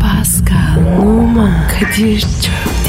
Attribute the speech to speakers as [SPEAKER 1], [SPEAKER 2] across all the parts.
[SPEAKER 1] Pascal, Oman, Kadir çok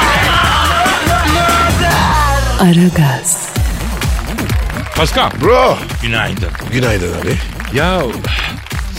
[SPEAKER 1] Aragaz,
[SPEAKER 2] Paskal.
[SPEAKER 3] Bro.
[SPEAKER 2] Günaydın.
[SPEAKER 3] Günaydın abi.
[SPEAKER 2] Ya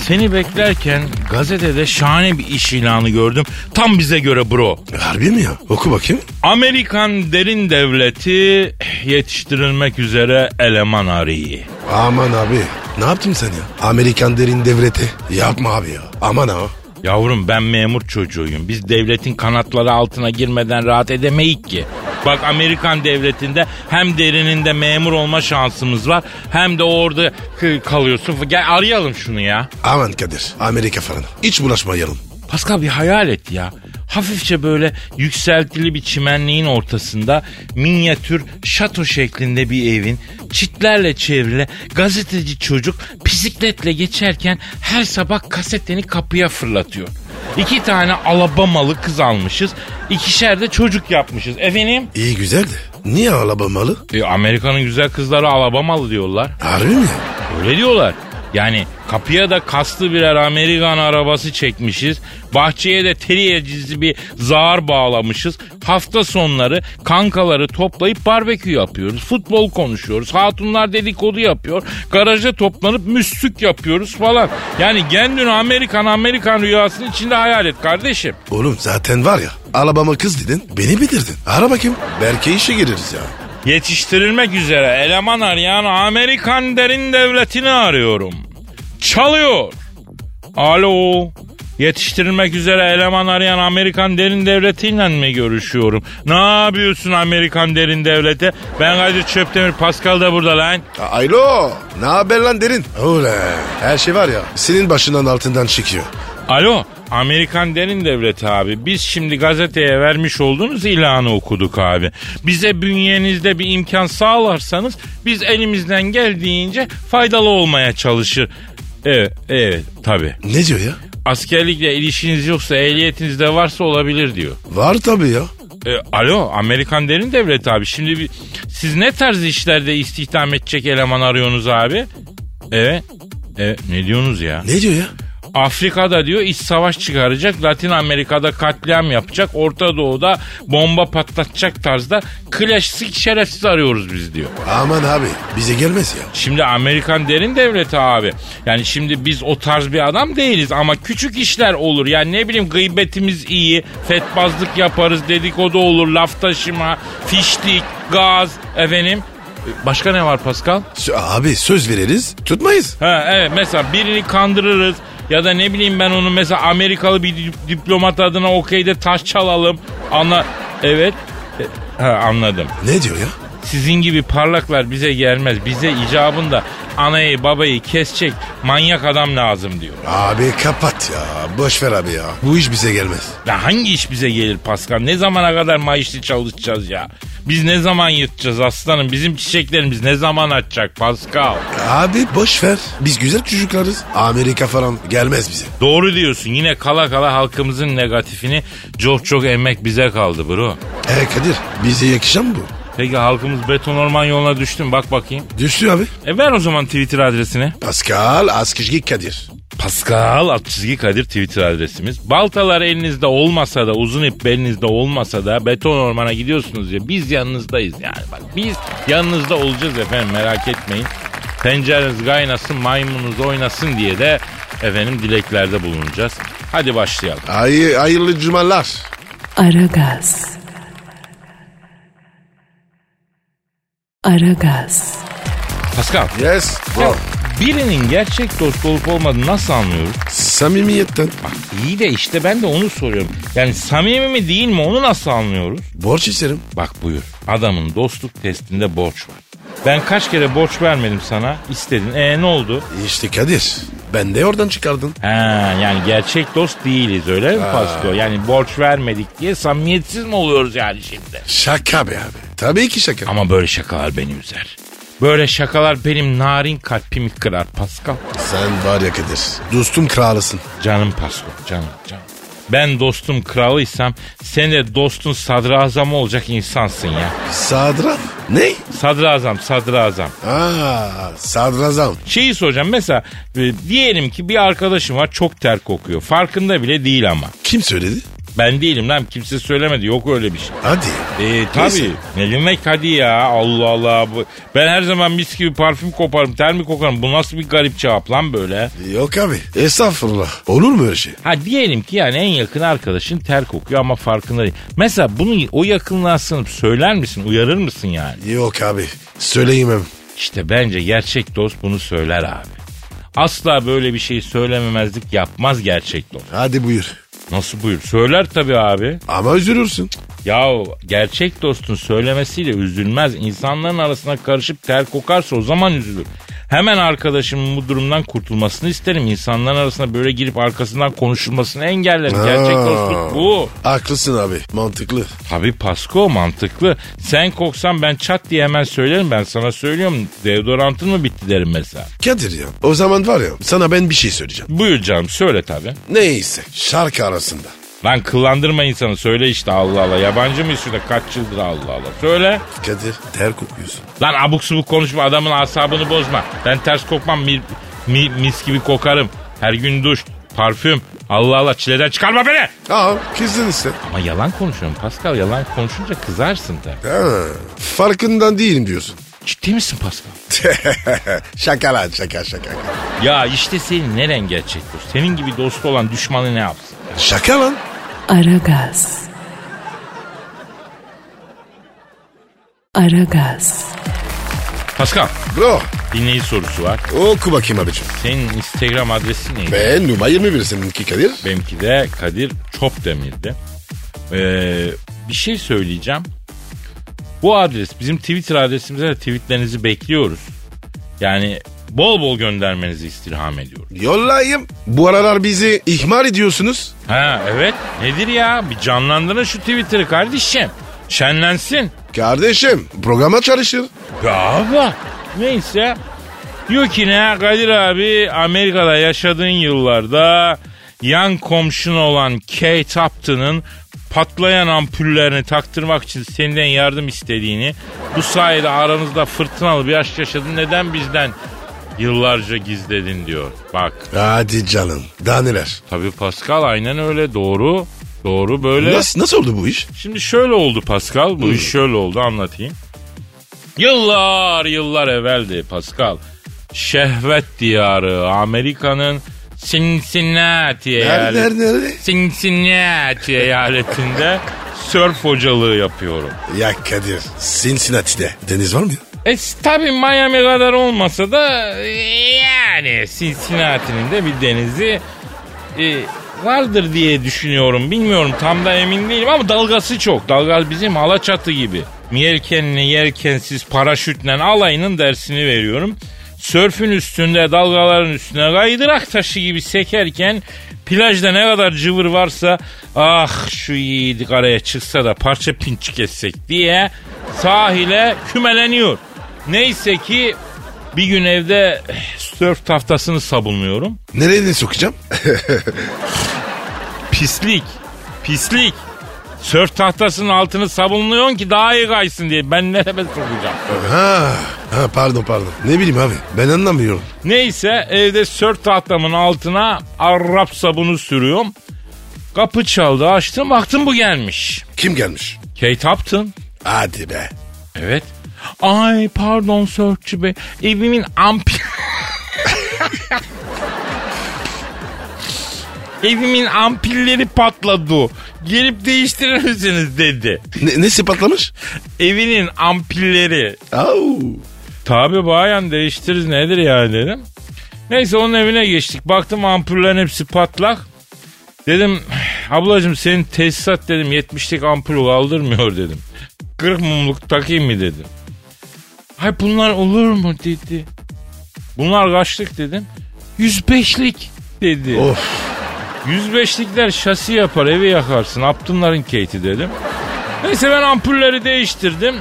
[SPEAKER 2] seni beklerken gazetede şahane bir iş ilanı gördüm. Tam bize göre bro.
[SPEAKER 3] Harbi mi ya? Oku bakayım.
[SPEAKER 2] Amerikan derin devleti yetiştirilmek üzere eleman arıyor.
[SPEAKER 3] Aman abi. Ne yaptın sen ya? Amerikan derin devleti. Yapma abi ya. Aman ha.
[SPEAKER 2] Yavrum ben memur çocuğuyum. Biz devletin kanatları altına girmeden rahat edemeyik ki. Bak Amerikan devletinde hem derininde memur olma şansımız var hem de orada kı- kalıyorsun. Gel arayalım şunu ya.
[SPEAKER 3] Aman Kadir. Amerika falan. Hiç bulaşma yarın.
[SPEAKER 2] Pascal bir hayal et ya. Hafifçe böyle yükseltili bir çimenliğin ortasında minyatür şato şeklinde bir evin çitlerle çevrili gazeteci çocuk bisikletle geçerken her sabah kasetini kapıya fırlatıyor. İki tane alabamalı kız almışız. ikişer de çocuk yapmışız. Efendim?
[SPEAKER 3] İyi güzel de. Niye alabamalı?
[SPEAKER 2] E, Amerika'nın güzel kızları alabamalı diyorlar.
[SPEAKER 3] Harbi mi ya?
[SPEAKER 2] Öyle diyorlar. Yani kapıya da kaslı birer Amerikan arabası çekmişiz. Bahçeye de teriye cizli bir zar bağlamışız. Hafta sonları kankaları toplayıp barbekü yapıyoruz. Futbol konuşuyoruz. Hatunlar dedikodu yapıyor. Garajda toplanıp müslük yapıyoruz falan. Yani kendini Amerikan Amerikan rüyasının içinde hayal et kardeşim.
[SPEAKER 3] Oğlum zaten var ya. Alabama kız dedin. Beni bildirdin. Ara bakayım. Belki işe gireriz ya.
[SPEAKER 2] Yetiştirilmek üzere eleman arayan Amerikan derin devletini arıyorum. Çalıyor. Alo. Yetiştirilmek üzere eleman arayan Amerikan derin devletiyle mi görüşüyorum? Ne yapıyorsun Amerikan derin devlete? Ben Kadir Çöptemir, Pascal da burada lan.
[SPEAKER 3] A- Alo. Ne haber lan derin? Ulan. Her şey var ya. Senin başından altından çıkıyor.
[SPEAKER 2] Alo, Amerikan Derin Devleti abi. Biz şimdi gazeteye vermiş olduğunuz ilanı okuduk abi. Bize bünyenizde bir imkan sağlarsanız biz elimizden geldiğince faydalı olmaya çalışır. Evet, evet tabii.
[SPEAKER 3] Ne diyor ya?
[SPEAKER 2] Askerlikle ilişkiniz yoksa ehliyetiniz de varsa olabilir diyor.
[SPEAKER 3] Var tabii ya.
[SPEAKER 2] E, alo Amerikan Derin Devleti abi şimdi bir, siz ne tarz işlerde istihdam edecek eleman arıyorsunuz abi? Evet. Evet ne diyorsunuz ya?
[SPEAKER 3] Ne diyor ya?
[SPEAKER 2] Afrika'da diyor iç savaş çıkaracak, Latin Amerika'da katliam yapacak, Orta Doğu'da bomba patlatacak tarzda klasik şerefsiz arıyoruz biz diyor.
[SPEAKER 3] Aman abi bize gelmez ya.
[SPEAKER 2] Şimdi Amerikan derin devleti abi. Yani şimdi biz o tarz bir adam değiliz ama küçük işler olur. Yani ne bileyim gıybetimiz iyi, fetbazlık yaparız, dedikodu olur, laf taşıma, fiştik, gaz, efendim. Başka ne var Pascal?
[SPEAKER 3] Sö- abi söz veririz tutmayız.
[SPEAKER 2] Ha evet mesela birini kandırırız ya da ne bileyim ben onu mesela Amerikalı bir dip- diplomat adına okeyde taş çalalım. Ana evet E, ha, anladım.
[SPEAKER 3] Ne diyor ya?
[SPEAKER 2] Sizin gibi parlaklar bize gelmez. Bize icabında anayı babayı kesecek manyak adam lazım diyor.
[SPEAKER 3] Abi kapat ya boş ver abi ya. Bu iş bize gelmez.
[SPEAKER 2] Ya hangi iş bize gelir Pascal? Ne zamana kadar maaşlı çalışacağız ya? Biz ne zaman yırtacağız aslanım? Bizim çiçeklerimiz ne zaman açacak Pascal?
[SPEAKER 3] Abi boş ver. Biz güzel çocuklarız. Amerika falan gelmez bize.
[SPEAKER 2] Doğru diyorsun. Yine kala kala halkımızın negatifini çok çok emmek bize kaldı bro.
[SPEAKER 3] E Kadir bize yakışan mı bu?
[SPEAKER 2] Peki halkımız beton orman yoluna düştü mü? Bak bakayım.
[SPEAKER 3] Düştü abi.
[SPEAKER 2] E ver o zaman Twitter adresini.
[SPEAKER 3] Pascal Askışgi Kadir.
[SPEAKER 2] Pascal alt çizgi Kadir Twitter adresimiz. Baltalar elinizde olmasa da uzun ip belinizde olmasa da beton ormana gidiyorsunuz ya biz yanınızdayız yani. Bak biz yanınızda olacağız efendim merak etmeyin. Pencereniz kaynasın maymununuz oynasın diye de efendim dileklerde bulunacağız. Hadi başlayalım.
[SPEAKER 3] Ay, hayırlı cumalar.
[SPEAKER 1] Aragaz. Aragaz,
[SPEAKER 2] Pascal.
[SPEAKER 3] Yes.
[SPEAKER 2] Ya
[SPEAKER 3] Wow.
[SPEAKER 2] birinin gerçek dost olup olmadığını nasıl anlıyoruz?
[SPEAKER 3] Samimiyetten.
[SPEAKER 2] Bak iyi de işte ben de onu soruyorum. Yani samimi mi değil mi onu nasıl anlıyoruz?
[SPEAKER 3] Borç isterim.
[SPEAKER 2] Bak buyur adamın dostluk testinde borç var. Ben kaç kere borç vermedim sana istedin. E ne oldu?
[SPEAKER 3] İşte Kadir. Ben de oradan çıkardın.
[SPEAKER 2] Ha, yani gerçek dost değiliz öyle mi Pasko? Yani borç vermedik diye samimiyetsiz mi oluyoruz yani şimdi?
[SPEAKER 3] Şaka be abi. Tabii ki şaka.
[SPEAKER 2] Ama böyle şakalar beni üzer. Böyle şakalar benim narin kalbimi kırar Pascal.
[SPEAKER 3] Sen var ya Kadir. Dostum kralısın.
[SPEAKER 2] Canım Pasko, canım canım. Ben dostum kralıysam sen de dostun sadrazamı olacak insansın ya.
[SPEAKER 3] Sadra. Ne?
[SPEAKER 2] Sadrazam, sadrazam.
[SPEAKER 3] Aa, sadrazam.
[SPEAKER 2] Şeyi soracağım mesela e, diyelim ki bir arkadaşım var çok ter kokuyor. Farkında bile değil ama.
[SPEAKER 3] Kim söyledi?
[SPEAKER 2] Ben değilim lan kimse söylemedi yok öyle bir şey.
[SPEAKER 3] Hadi.
[SPEAKER 2] E
[SPEAKER 3] Neyse.
[SPEAKER 2] tabii. Ne demek hadi ya Allah Allah. Bu, ben her zaman mis gibi parfüm koparım ter mi kokarım. Bu nasıl bir garip cevap lan böyle.
[SPEAKER 3] Yok abi. Estağfurullah. Olur mu öyle şey?
[SPEAKER 2] Ha diyelim ki yani en yakın arkadaşın ter kokuyor ama farkında değil. Mesela bunu o yakınlığa sınıp söyler misin uyarır mısın yani?
[SPEAKER 3] Yok abi. Söyleyemem.
[SPEAKER 2] İşte bence gerçek dost bunu söyler abi. Asla böyle bir şey söylememezlik yapmaz gerçek dost.
[SPEAKER 3] Hadi buyur.
[SPEAKER 2] Nasıl buyur? Söyler tabii abi.
[SPEAKER 3] Ama üzülürsün.
[SPEAKER 2] Ya gerçek dostun söylemesiyle üzülmez. İnsanların arasına karışıp ter kokarsa o zaman üzülür. Hemen arkadaşımın bu durumdan kurtulmasını isterim. İnsanların arasına böyle girip arkasından konuşulmasını engellerim. Gerçek
[SPEAKER 3] Ha.
[SPEAKER 2] dostluk bu.
[SPEAKER 3] Haklısın abi. Mantıklı.
[SPEAKER 2] Tabii Pasko mantıklı. Sen koksan ben çat diye hemen söylerim. Ben sana söylüyorum deodorantın mı bitti derim mesela.
[SPEAKER 3] Kadir ya. O zaman var ya sana ben bir şey söyleyeceğim.
[SPEAKER 2] Buyur canım söyle tabii.
[SPEAKER 3] Neyse. Şarkı arasında.
[SPEAKER 2] Lan kıllandırma insanı söyle işte Allah Allah. Yabancı mıyız şurada kaç yıldır Allah Allah. Söyle.
[SPEAKER 3] Kadir ter kokuyorsun.
[SPEAKER 2] Lan abuk subuk konuşma adamın asabını bozma. Ben ters kokmam mi- mi- mis gibi kokarım. Her gün duş, parfüm. Allah Allah çileden çıkarma beni.
[SPEAKER 3] Aa kızdın işte.
[SPEAKER 2] Ama yalan konuşuyorum Pascal. Yalan konuşunca kızarsın da.
[SPEAKER 3] Ha, farkından değilim diyorsun.
[SPEAKER 2] Ciddi misin Pascal?
[SPEAKER 3] şaka lan şaka şaka.
[SPEAKER 2] Ya işte senin neren gerçek dost? Senin gibi dostu olan düşmanı ne yapsın?
[SPEAKER 3] Şaka lan.
[SPEAKER 1] Aragaz. Aragaz.
[SPEAKER 2] Pascal
[SPEAKER 3] Bro
[SPEAKER 2] dinleyici sorusu var.
[SPEAKER 3] oku bakayım abicim.
[SPEAKER 2] Senin Instagram adresin neydi?
[SPEAKER 3] Ben Numa 21 seninki Kadir.
[SPEAKER 2] Benimki de Kadir Çopdemir'di. Ee, bir şey söyleyeceğim. Bu adres bizim Twitter adresimize de tweetlerinizi bekliyoruz. Yani bol bol göndermenizi istirham ediyoruz.
[SPEAKER 3] Yollayayım. Bu aralar bizi ihmal ediyorsunuz.
[SPEAKER 2] Ha evet nedir ya bir canlandırın şu Twitter'ı kardeşim. Şenlensin.
[SPEAKER 3] Kardeşim programa çalışır.
[SPEAKER 2] Galiba. Neyse. Diyor ki ne Kadir abi Amerika'da yaşadığın yıllarda yan komşun olan Kate Upton'ın patlayan ampullerini taktırmak için senden yardım istediğini bu sayede aranızda fırtınalı bir aşk yaşadın neden bizden yıllarca gizledin diyor. Bak
[SPEAKER 3] Hadi canım. Daha neler.
[SPEAKER 2] tabii Pascal aynen öyle doğru. Doğru böyle.
[SPEAKER 3] Nasıl, nasıl oldu bu iş?
[SPEAKER 2] Şimdi şöyle oldu Pascal. Bu iş şöyle oldu anlatayım. Yıllar yıllar evveldi Pascal. Şehvet diyarı Amerika'nın Cincinnati
[SPEAKER 3] Nerede
[SPEAKER 2] eyaleti.
[SPEAKER 3] nerede nerede?
[SPEAKER 2] Cincinnati eyaletinde sörf hocalığı yapıyorum.
[SPEAKER 3] Ya Kadir Cincinnati'de deniz var mı?
[SPEAKER 2] E tabi Miami kadar olmasa da e, yani Cincinnati'nin de bir denizi e, vardır diye düşünüyorum. Bilmiyorum tam da emin değilim ama dalgası çok. Dalga bizim Alaçatı gibi. Yelkenli yelkensiz paraşütle alayının dersini veriyorum. Sörfün üstünde dalgaların üstüne kaydırak taşı gibi sekerken plajda ne kadar cıvır varsa ah şu yiğidi karaya çıksa da parça pinçik etsek diye sahile kümeleniyor. Neyse ki bir gün evde eh, sörf tahtasını sabunluyorum.
[SPEAKER 3] Nereye sokacağım?
[SPEAKER 2] Pislik. Pislik. Sörf tahtasının altını sabunluyorsun ki daha iyi kaysın diye. Ben nereye sokacağım?
[SPEAKER 3] ha, ha pardon pardon. Ne bileyim abi ben anlamıyorum.
[SPEAKER 2] Neyse evde sörf tahtamın altına Arap sabunu sürüyorum. Kapı çaldı açtım baktım bu gelmiş.
[SPEAKER 3] Kim gelmiş?
[SPEAKER 2] Kate Upton.
[SPEAKER 3] Hadi be.
[SPEAKER 2] Evet. Ay pardon sörfçü bey. Evimin ampi... Evimin ampilleri patladı. Gelip değiştirir misiniz dedi.
[SPEAKER 3] Ne, nesi patlamış?
[SPEAKER 2] Evinin ampilleri.
[SPEAKER 3] Au.
[SPEAKER 2] Tabi bayan değiştiririz nedir yani dedim. Neyse onun evine geçtik. Baktım ampullerin hepsi patlak. Dedim ablacığım senin tesisat dedim 70'lik ampul kaldırmıyor dedim. 40 mumluk takayım mı dedim. Hay bunlar olur mu dedi. Bunlar kaçlık dedim. 105'lik dedi.
[SPEAKER 3] Of.
[SPEAKER 2] 105'likler şasi yapar evi yakarsın. Aptınların keyti dedim. Neyse ben ampulleri değiştirdim.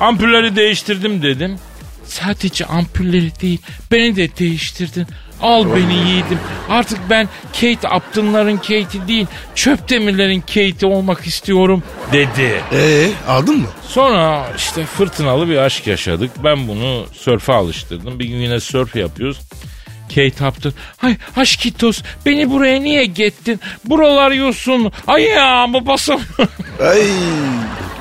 [SPEAKER 2] Ampulleri değiştirdim dedim. Sadece ampulleri değil beni de değiştirdin. Al beni yiğidim. Artık ben Kate Upton'ların Kate'i değil çöp demirlerin Kate'i olmak istiyorum dedi.
[SPEAKER 3] Ee aldın mı?
[SPEAKER 2] Sonra işte fırtınalı bir aşk yaşadık. Ben bunu sörfe alıştırdım. Bir gün yine sörf yapıyoruz. Kate Upton. Hay aşkitos beni buraya niye gettin? Buralar yosun. Ayağımı basamıyorum.
[SPEAKER 3] Ay.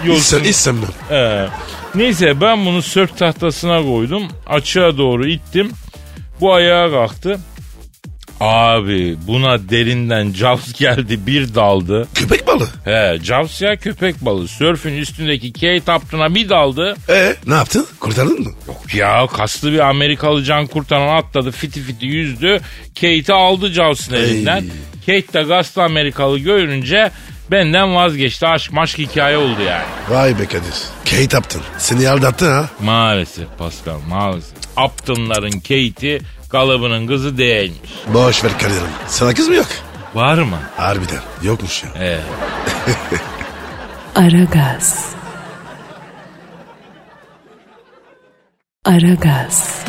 [SPEAKER 2] Yosun.
[SPEAKER 3] İstem, istemem.
[SPEAKER 2] Ee, neyse ben bunu sörf tahtasına koydum. Açığa doğru ittim. Bu ayağa kalktı. Abi buna derinden Jaws geldi bir daldı.
[SPEAKER 3] Köpek balı.
[SPEAKER 2] He Jaws ya köpek balığı. Sörfün üstündeki Kate Upton'a bir daldı.
[SPEAKER 3] Ee ne yaptın? Kurtardın mı?
[SPEAKER 2] Yok ya kaslı bir Amerikalı can kurtaran atladı fiti fiti yüzdü. Kate'i aldı Jaws'ın elinden. Kate de kaslı Amerikalı görünce benden vazgeçti. Aşk maşk hikaye oldu yani.
[SPEAKER 3] Vay be Kadir. Kate yaptın. Seni aldattın ha.
[SPEAKER 2] Maalesef Pascal maalesef. Aptınların Kate'i kalıbının kızı değilmiş.
[SPEAKER 3] Boş ver Kadir'im. Sana kız mı yok?
[SPEAKER 2] Var mı?
[SPEAKER 3] Harbiden yokmuş ya.
[SPEAKER 2] Ee,
[SPEAKER 1] Aragaz. Aragaz.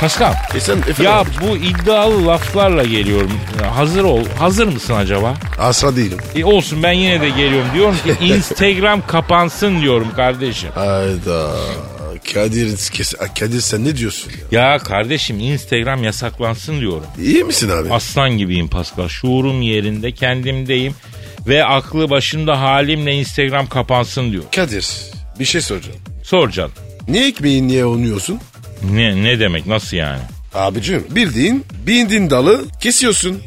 [SPEAKER 2] Pascal
[SPEAKER 3] E sen efendim.
[SPEAKER 2] ya bu iddialı laflarla geliyorum. Hazır ol. Hazır mısın acaba?
[SPEAKER 3] Asla değilim.
[SPEAKER 2] E olsun ben yine de geliyorum. Diyorum ki Instagram kapansın diyorum kardeşim.
[SPEAKER 3] Hayda. Kadir, kes- Kadir sen ne diyorsun ya?
[SPEAKER 2] Ya kardeşim Instagram yasaklansın diyorum.
[SPEAKER 3] İyi misin abi?
[SPEAKER 2] Aslan gibiyim Pascal. Şuurum yerinde kendimdeyim ve aklı başında halimle Instagram kapansın diyor.
[SPEAKER 3] Kadir bir şey soracağım.
[SPEAKER 2] Sor canım.
[SPEAKER 3] Niye ekmeği niye oynuyorsun?
[SPEAKER 2] Ne, ne demek nasıl yani?
[SPEAKER 3] Abicim bildiğin bindiğin dalı kesiyorsun.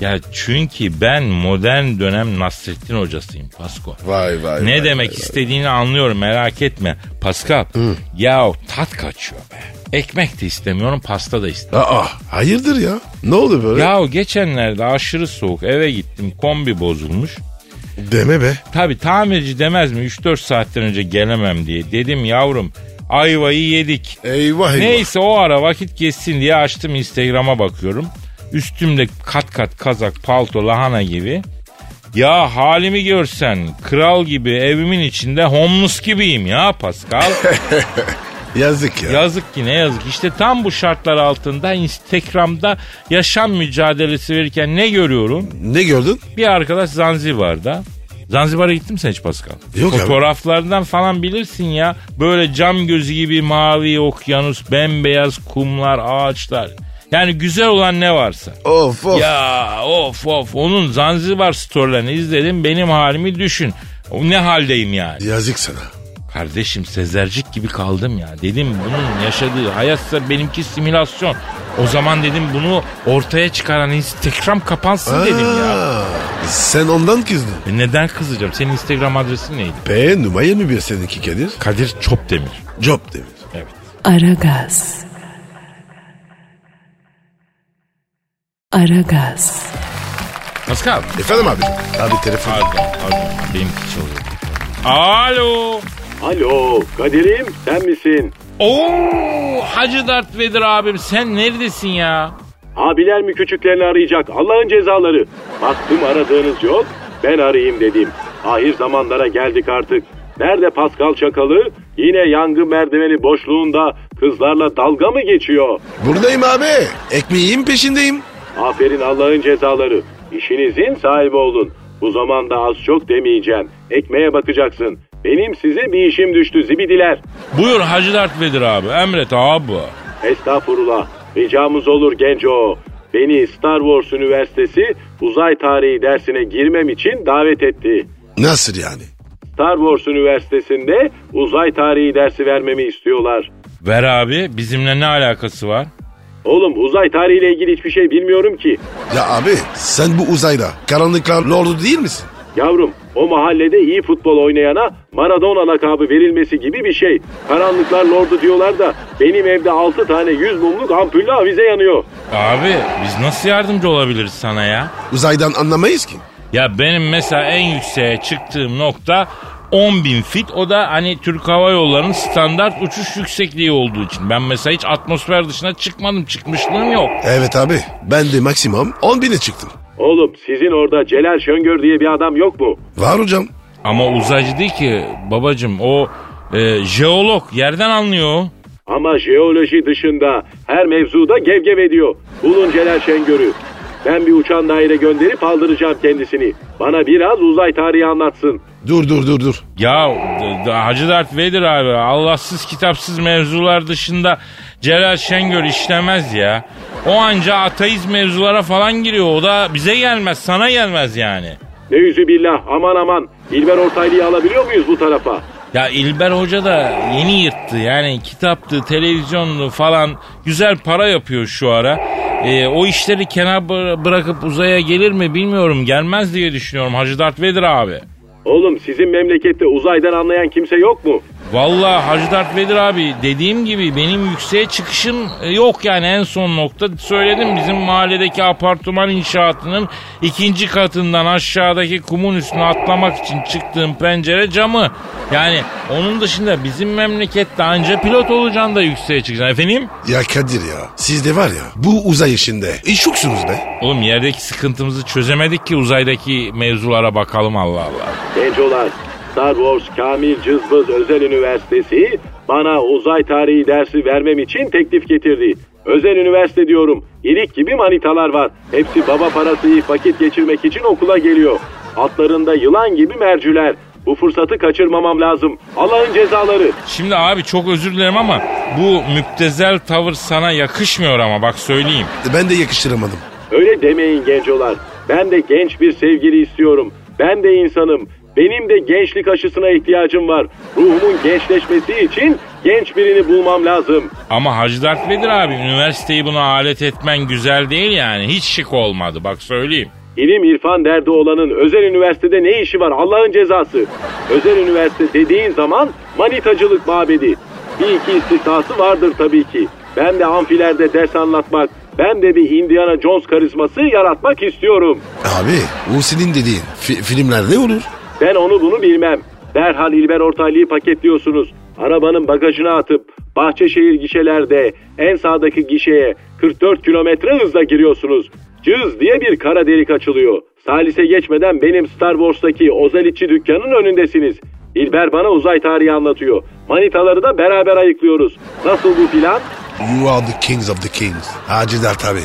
[SPEAKER 2] Ya çünkü ben modern dönem Nasrettin hocasıyım Pasko.
[SPEAKER 3] Vay vay
[SPEAKER 2] Ne
[SPEAKER 3] vay,
[SPEAKER 2] demek
[SPEAKER 3] vay,
[SPEAKER 2] istediğini anlıyorum merak etme. Pascal ya tat kaçıyor be. Ekmek de istemiyorum pasta da istemiyorum.
[SPEAKER 3] vay. Aa hayırdır ya? Ne oldu böyle?
[SPEAKER 2] Ya geçenlerde aşırı soğuk eve gittim kombi bozulmuş.
[SPEAKER 3] Deme be.
[SPEAKER 2] Tabi tamirci demez mi 3-4 saatten önce gelemem diye. Dedim yavrum ayvayı yedik.
[SPEAKER 3] Eyvah eyvah.
[SPEAKER 2] Neyse o ara vakit geçsin diye açtım Instagram'a bakıyorum. Üstümde kat kat kazak, palto, lahana gibi. Ya halimi görsen kral gibi evimin içinde homeless gibiyim ya Pascal.
[SPEAKER 3] Yazık ya.
[SPEAKER 2] yazık ki ne yazık. İşte tam bu şartlar altında Instagram'da yaşam mücadelesi verirken ne görüyorum?
[SPEAKER 3] Ne gördün?
[SPEAKER 2] Bir arkadaş Zanzibar'da. Zanzibar'a gittin mi sen hiç Pascal?
[SPEAKER 3] Yok abi.
[SPEAKER 2] Fotoğraflardan falan bilirsin ya. Böyle cam gözü gibi mavi okyanus, bembeyaz kumlar, ağaçlar. Yani güzel olan ne varsa.
[SPEAKER 3] Of of.
[SPEAKER 2] Ya of of onun Zanzibar storylerini izledim benim halimi düşün. O Ne haldeyim yani?
[SPEAKER 3] Yazık sana.
[SPEAKER 2] Kardeşim sezercik gibi kaldım ya. Dedim bunun yaşadığı hayatsa benimki simülasyon. O zaman dedim bunu ortaya çıkaran Instagram kapansın dedim ya.
[SPEAKER 3] Aa, Sen ondan kızdın.
[SPEAKER 2] E neden kızacağım? Senin Instagram adresin neydi?
[SPEAKER 3] P numara mı bir seninki Kadir?
[SPEAKER 2] Kadir Çopdemir.
[SPEAKER 3] Job demir.
[SPEAKER 2] Evet.
[SPEAKER 1] Aragaz. Aragaz.
[SPEAKER 2] Pascal.
[SPEAKER 3] Efendim abi. Abi telefon.
[SPEAKER 2] Pardon, pardon. Benimki çalıyor. Alo.
[SPEAKER 4] Alo Kadir'im sen misin?
[SPEAKER 2] Oo, Hacı Dert Vedir abim sen neredesin ya?
[SPEAKER 4] Abiler mi küçüklerini arayacak Allah'ın cezaları. Baktım aradığınız yok ben arayayım dedim. Ahir zamanlara geldik artık. Nerede Pascal Çakalı? Yine yangın merdiveni boşluğunda kızlarla dalga mı geçiyor?
[SPEAKER 3] Buradayım abi. Ekmeğin peşindeyim.
[SPEAKER 4] Aferin Allah'ın cezaları. İşinizin sahibi olun. Bu zamanda az çok demeyeceğim. Ekmeğe bakacaksın. Benim size bir işim düştü zibidiler.
[SPEAKER 2] Buyur Hacı Dert Vedir abi. Emret abi.
[SPEAKER 4] Estağfurullah. Ricamız olur genco. Beni Star Wars Üniversitesi uzay tarihi dersine girmem için davet etti.
[SPEAKER 3] Nasıl yani?
[SPEAKER 4] Star Wars Üniversitesi'nde uzay tarihi dersi vermemi istiyorlar.
[SPEAKER 2] Ver abi bizimle ne alakası var?
[SPEAKER 4] Oğlum uzay tarihiyle ilgili hiçbir şey bilmiyorum ki.
[SPEAKER 3] Ya abi sen bu uzayda karanlıklar lordu değil misin?
[SPEAKER 4] Yavrum o mahallede iyi futbol oynayana Maradona lakabı verilmesi gibi bir şey. Karanlıklar lordu diyorlar da benim evde 6 tane 100 mumluk ampullü avize yanıyor.
[SPEAKER 2] Abi biz nasıl yardımcı olabiliriz sana ya?
[SPEAKER 3] Uzaydan anlamayız ki.
[SPEAKER 2] Ya benim mesela en yükseğe çıktığım nokta 10 bin fit o da hani Türk Hava Yolları'nın standart uçuş yüksekliği olduğu için. Ben mesela hiç atmosfer dışına çıkmadım çıkmışlığım yok.
[SPEAKER 3] Evet abi ben de maksimum 10 bine çıktım.
[SPEAKER 4] Oğlum sizin orada Celal Şöngör diye bir adam yok mu?
[SPEAKER 3] Var hocam.
[SPEAKER 2] Ama uzaycı değil ki babacım o e, jeolog yerden anlıyor. o.
[SPEAKER 4] Ama jeoloji dışında her mevzuda gevgev ediyor. Bulun Celal Şengör'ü. Ben bir uçan daire gönderip aldıracağım kendisini. Bana biraz uzay tarihi anlatsın.
[SPEAKER 3] Dur dur dur dur.
[SPEAKER 2] Ya d- d- Hacı Dert Vedir abi Allahsız kitapsız mevzular dışında Celal Şengör işlemez ya. O anca ateist mevzulara falan giriyor. O da bize gelmez sana gelmez yani.
[SPEAKER 4] Ne yüzü billah aman aman. İlber Ortaylı'yı alabiliyor muyuz bu tarafa?
[SPEAKER 2] Ya İlber Hoca da yeni yırttı. Yani kitaptı, televizyonlu falan güzel para yapıyor şu ara. Ee, o işleri kenar bıra- bırakıp uzaya gelir mi bilmiyorum. Gelmez diye düşünüyorum Hacı Dert Vedir abi.
[SPEAKER 4] Oğlum sizin memlekette uzaydan anlayan kimse yok mu?
[SPEAKER 2] Vallahi Hacı Dert Vedir abi dediğim gibi benim yükseğe çıkışım e, yok yani en son nokta söyledim bizim mahalledeki apartman inşaatının ikinci katından aşağıdaki kumun üstüne atlamak için çıktığım pencere camı. Yani onun dışında bizim memlekette anca pilot olacaksın da yükseğe çıkacaksın efendim.
[SPEAKER 3] Ya Kadir ya siz de var ya bu uzay işinde iş yoksunuz be.
[SPEAKER 2] Oğlum yerdeki sıkıntımızı çözemedik ki uzaydaki mevzulara bakalım Allah Allah.
[SPEAKER 4] Gencolar, Star Wars Kamil Cızbız Özel Üniversitesi bana uzay tarihi dersi vermem için teklif getirdi. Özel üniversite diyorum. İlik gibi manitalar var. Hepsi baba parası yiyip vakit geçirmek için okula geliyor. Altlarında yılan gibi mercüler. Bu fırsatı kaçırmamam lazım. Allah'ın cezaları.
[SPEAKER 2] Şimdi abi çok özür dilerim ama bu müptezel tavır sana yakışmıyor ama bak söyleyeyim.
[SPEAKER 3] Ben de yakıştıramadım.
[SPEAKER 4] Öyle demeyin gencolar. Ben de genç bir sevgili istiyorum. Ben de insanım. Benim de gençlik aşısına ihtiyacım var. Ruhumun gençleşmesi için genç birini bulmam lazım.
[SPEAKER 2] Ama Hacı Dert Vedir abi üniversiteyi buna alet etmen güzel değil yani. Hiç şık olmadı bak söyleyeyim.
[SPEAKER 4] İlim irfan derdi olanın özel üniversitede ne işi var Allah'ın cezası. Özel üniversite dediğin zaman manitacılık mabedi. Bir iki istisnası vardır tabii ki. Ben de amfilerde ders anlatmak, ben de bir Indiana Jones karizması yaratmak istiyorum.
[SPEAKER 3] Abi bu senin dediğin fi- filmlerde olur.
[SPEAKER 4] Ben onu bunu bilmem. Derhal İlber Ortaylı'yı paketliyorsunuz. Arabanın bagajına atıp Bahçeşehir gişelerde en sağdaki gişeye 44 kilometre hızla giriyorsunuz. Cız diye bir kara delik açılıyor. Salise geçmeden benim Star Wars'taki Ozalitçi dükkanın önündesiniz. İlber bana uzay tarihi anlatıyor. Manitaları da beraber ayıklıyoruz. Nasıl bu plan?
[SPEAKER 3] You are the kings of the kings. Hacı Dert abi.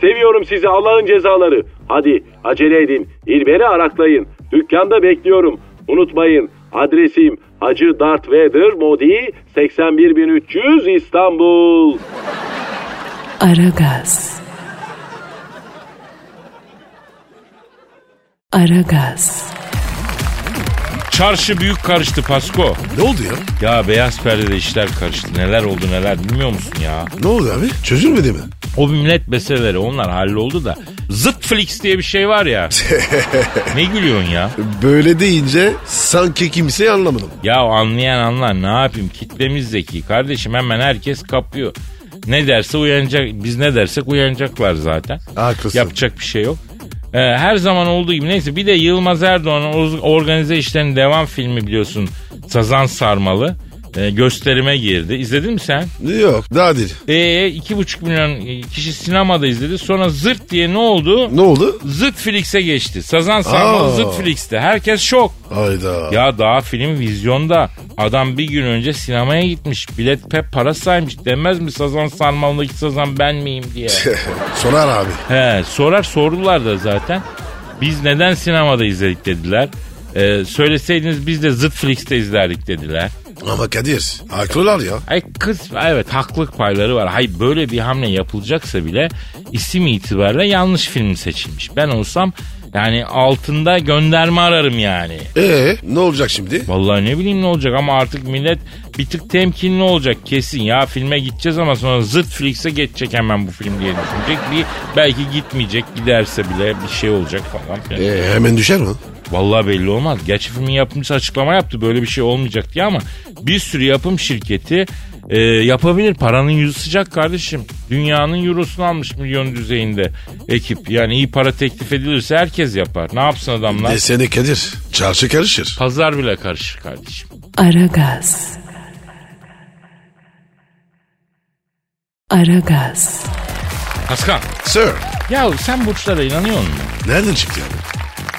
[SPEAKER 4] Seviyorum sizi Allah'ın cezaları. Hadi acele edin. İlber'i araklayın. Dükkanda bekliyorum. Unutmayın adresim Hacı Darth Vader Modi 81300 İstanbul.
[SPEAKER 1] Aragaz. Aragaz.
[SPEAKER 2] Çarşı büyük karıştı Pasko.
[SPEAKER 3] Ne oldu ya?
[SPEAKER 2] Ya beyaz perdede işler karıştı. Neler oldu neler bilmiyor musun ya?
[SPEAKER 3] Ne oldu abi? Çözülmedi mi?
[SPEAKER 2] O millet meseleleri onlar halloldu da. Zıt Flix diye bir şey var ya. ne gülüyorsun ya?
[SPEAKER 3] Böyle deyince sanki kimseyi anlamadım.
[SPEAKER 2] Ya anlayan anlar ne yapayım kitlemiz zeki kardeşim hemen herkes kapıyor. Ne derse uyanacak biz ne dersek uyanacaklar zaten.
[SPEAKER 3] Haklısın.
[SPEAKER 2] Yapacak bir şey yok. Ee, her zaman olduğu gibi neyse bir de Yılmaz Erdoğan'ın Oz- organize işlerin devam filmi biliyorsun Sazan Sarmalı. Ee, gösterime girdi. İzledin mi sen?
[SPEAKER 3] Yok daha değil.
[SPEAKER 2] Ee, iki buçuk milyon kişi sinemada izledi. Sonra zırt diye ne oldu?
[SPEAKER 3] Ne oldu?
[SPEAKER 2] Zıt Flix'e geçti. Sazan Sarmalı
[SPEAKER 3] Aa.
[SPEAKER 2] Zıt Flix'te. Herkes şok.
[SPEAKER 3] Hayda.
[SPEAKER 2] Ya daha film vizyonda. Adam bir gün önce sinemaya gitmiş. Bilet pep para saymış. Demez mi Sazan Sarmalı'ndaki Sazan ben miyim diye.
[SPEAKER 3] Sorar abi.
[SPEAKER 2] He, sorar sordular da zaten. Biz neden sinemada izledik dediler. Ee, söyleseydiniz biz de zıt Flix'te izlerdik dediler.
[SPEAKER 3] Ama Kadir haklılar ya.
[SPEAKER 2] Ay kız evet haklılık payları var. Hay böyle bir hamle yapılacaksa bile isim itibariyle yanlış film seçilmiş. Ben olsam yani altında gönderme ararım yani.
[SPEAKER 3] Ee ne olacak şimdi?
[SPEAKER 2] Vallahi ne bileyim ne olacak ama artık millet bir tık temkinli olacak kesin. Ya filme gideceğiz ama sonra zıt Flix'e geçecek hemen bu film diye düşünecek. Bir, belki gitmeyecek giderse bile bir şey olacak falan filan.
[SPEAKER 3] Ee, hemen düşer mi?
[SPEAKER 2] Vallahi belli olmaz. Gerçi filmin yapımcısı açıklama yaptı böyle bir şey olmayacak diye ama bir sürü yapım şirketi Ee, yapabilir paranın yüzü sıcak kardeşim. Dünyanın eurosunu almış milyon düzeyinde ekip. Yani iyi para teklif edilirse herkes yapar. Ne yapsın adamlar?
[SPEAKER 3] Desene Ee, Kadir. Çarşı karışır.
[SPEAKER 2] Pazar bile karışır kardeşim.
[SPEAKER 1] Aragaz. Aragaz.
[SPEAKER 2] Paskal.
[SPEAKER 3] Sir.
[SPEAKER 2] Ya sen burçlara inanıyor musun?
[SPEAKER 3] Nereden çıktı yani?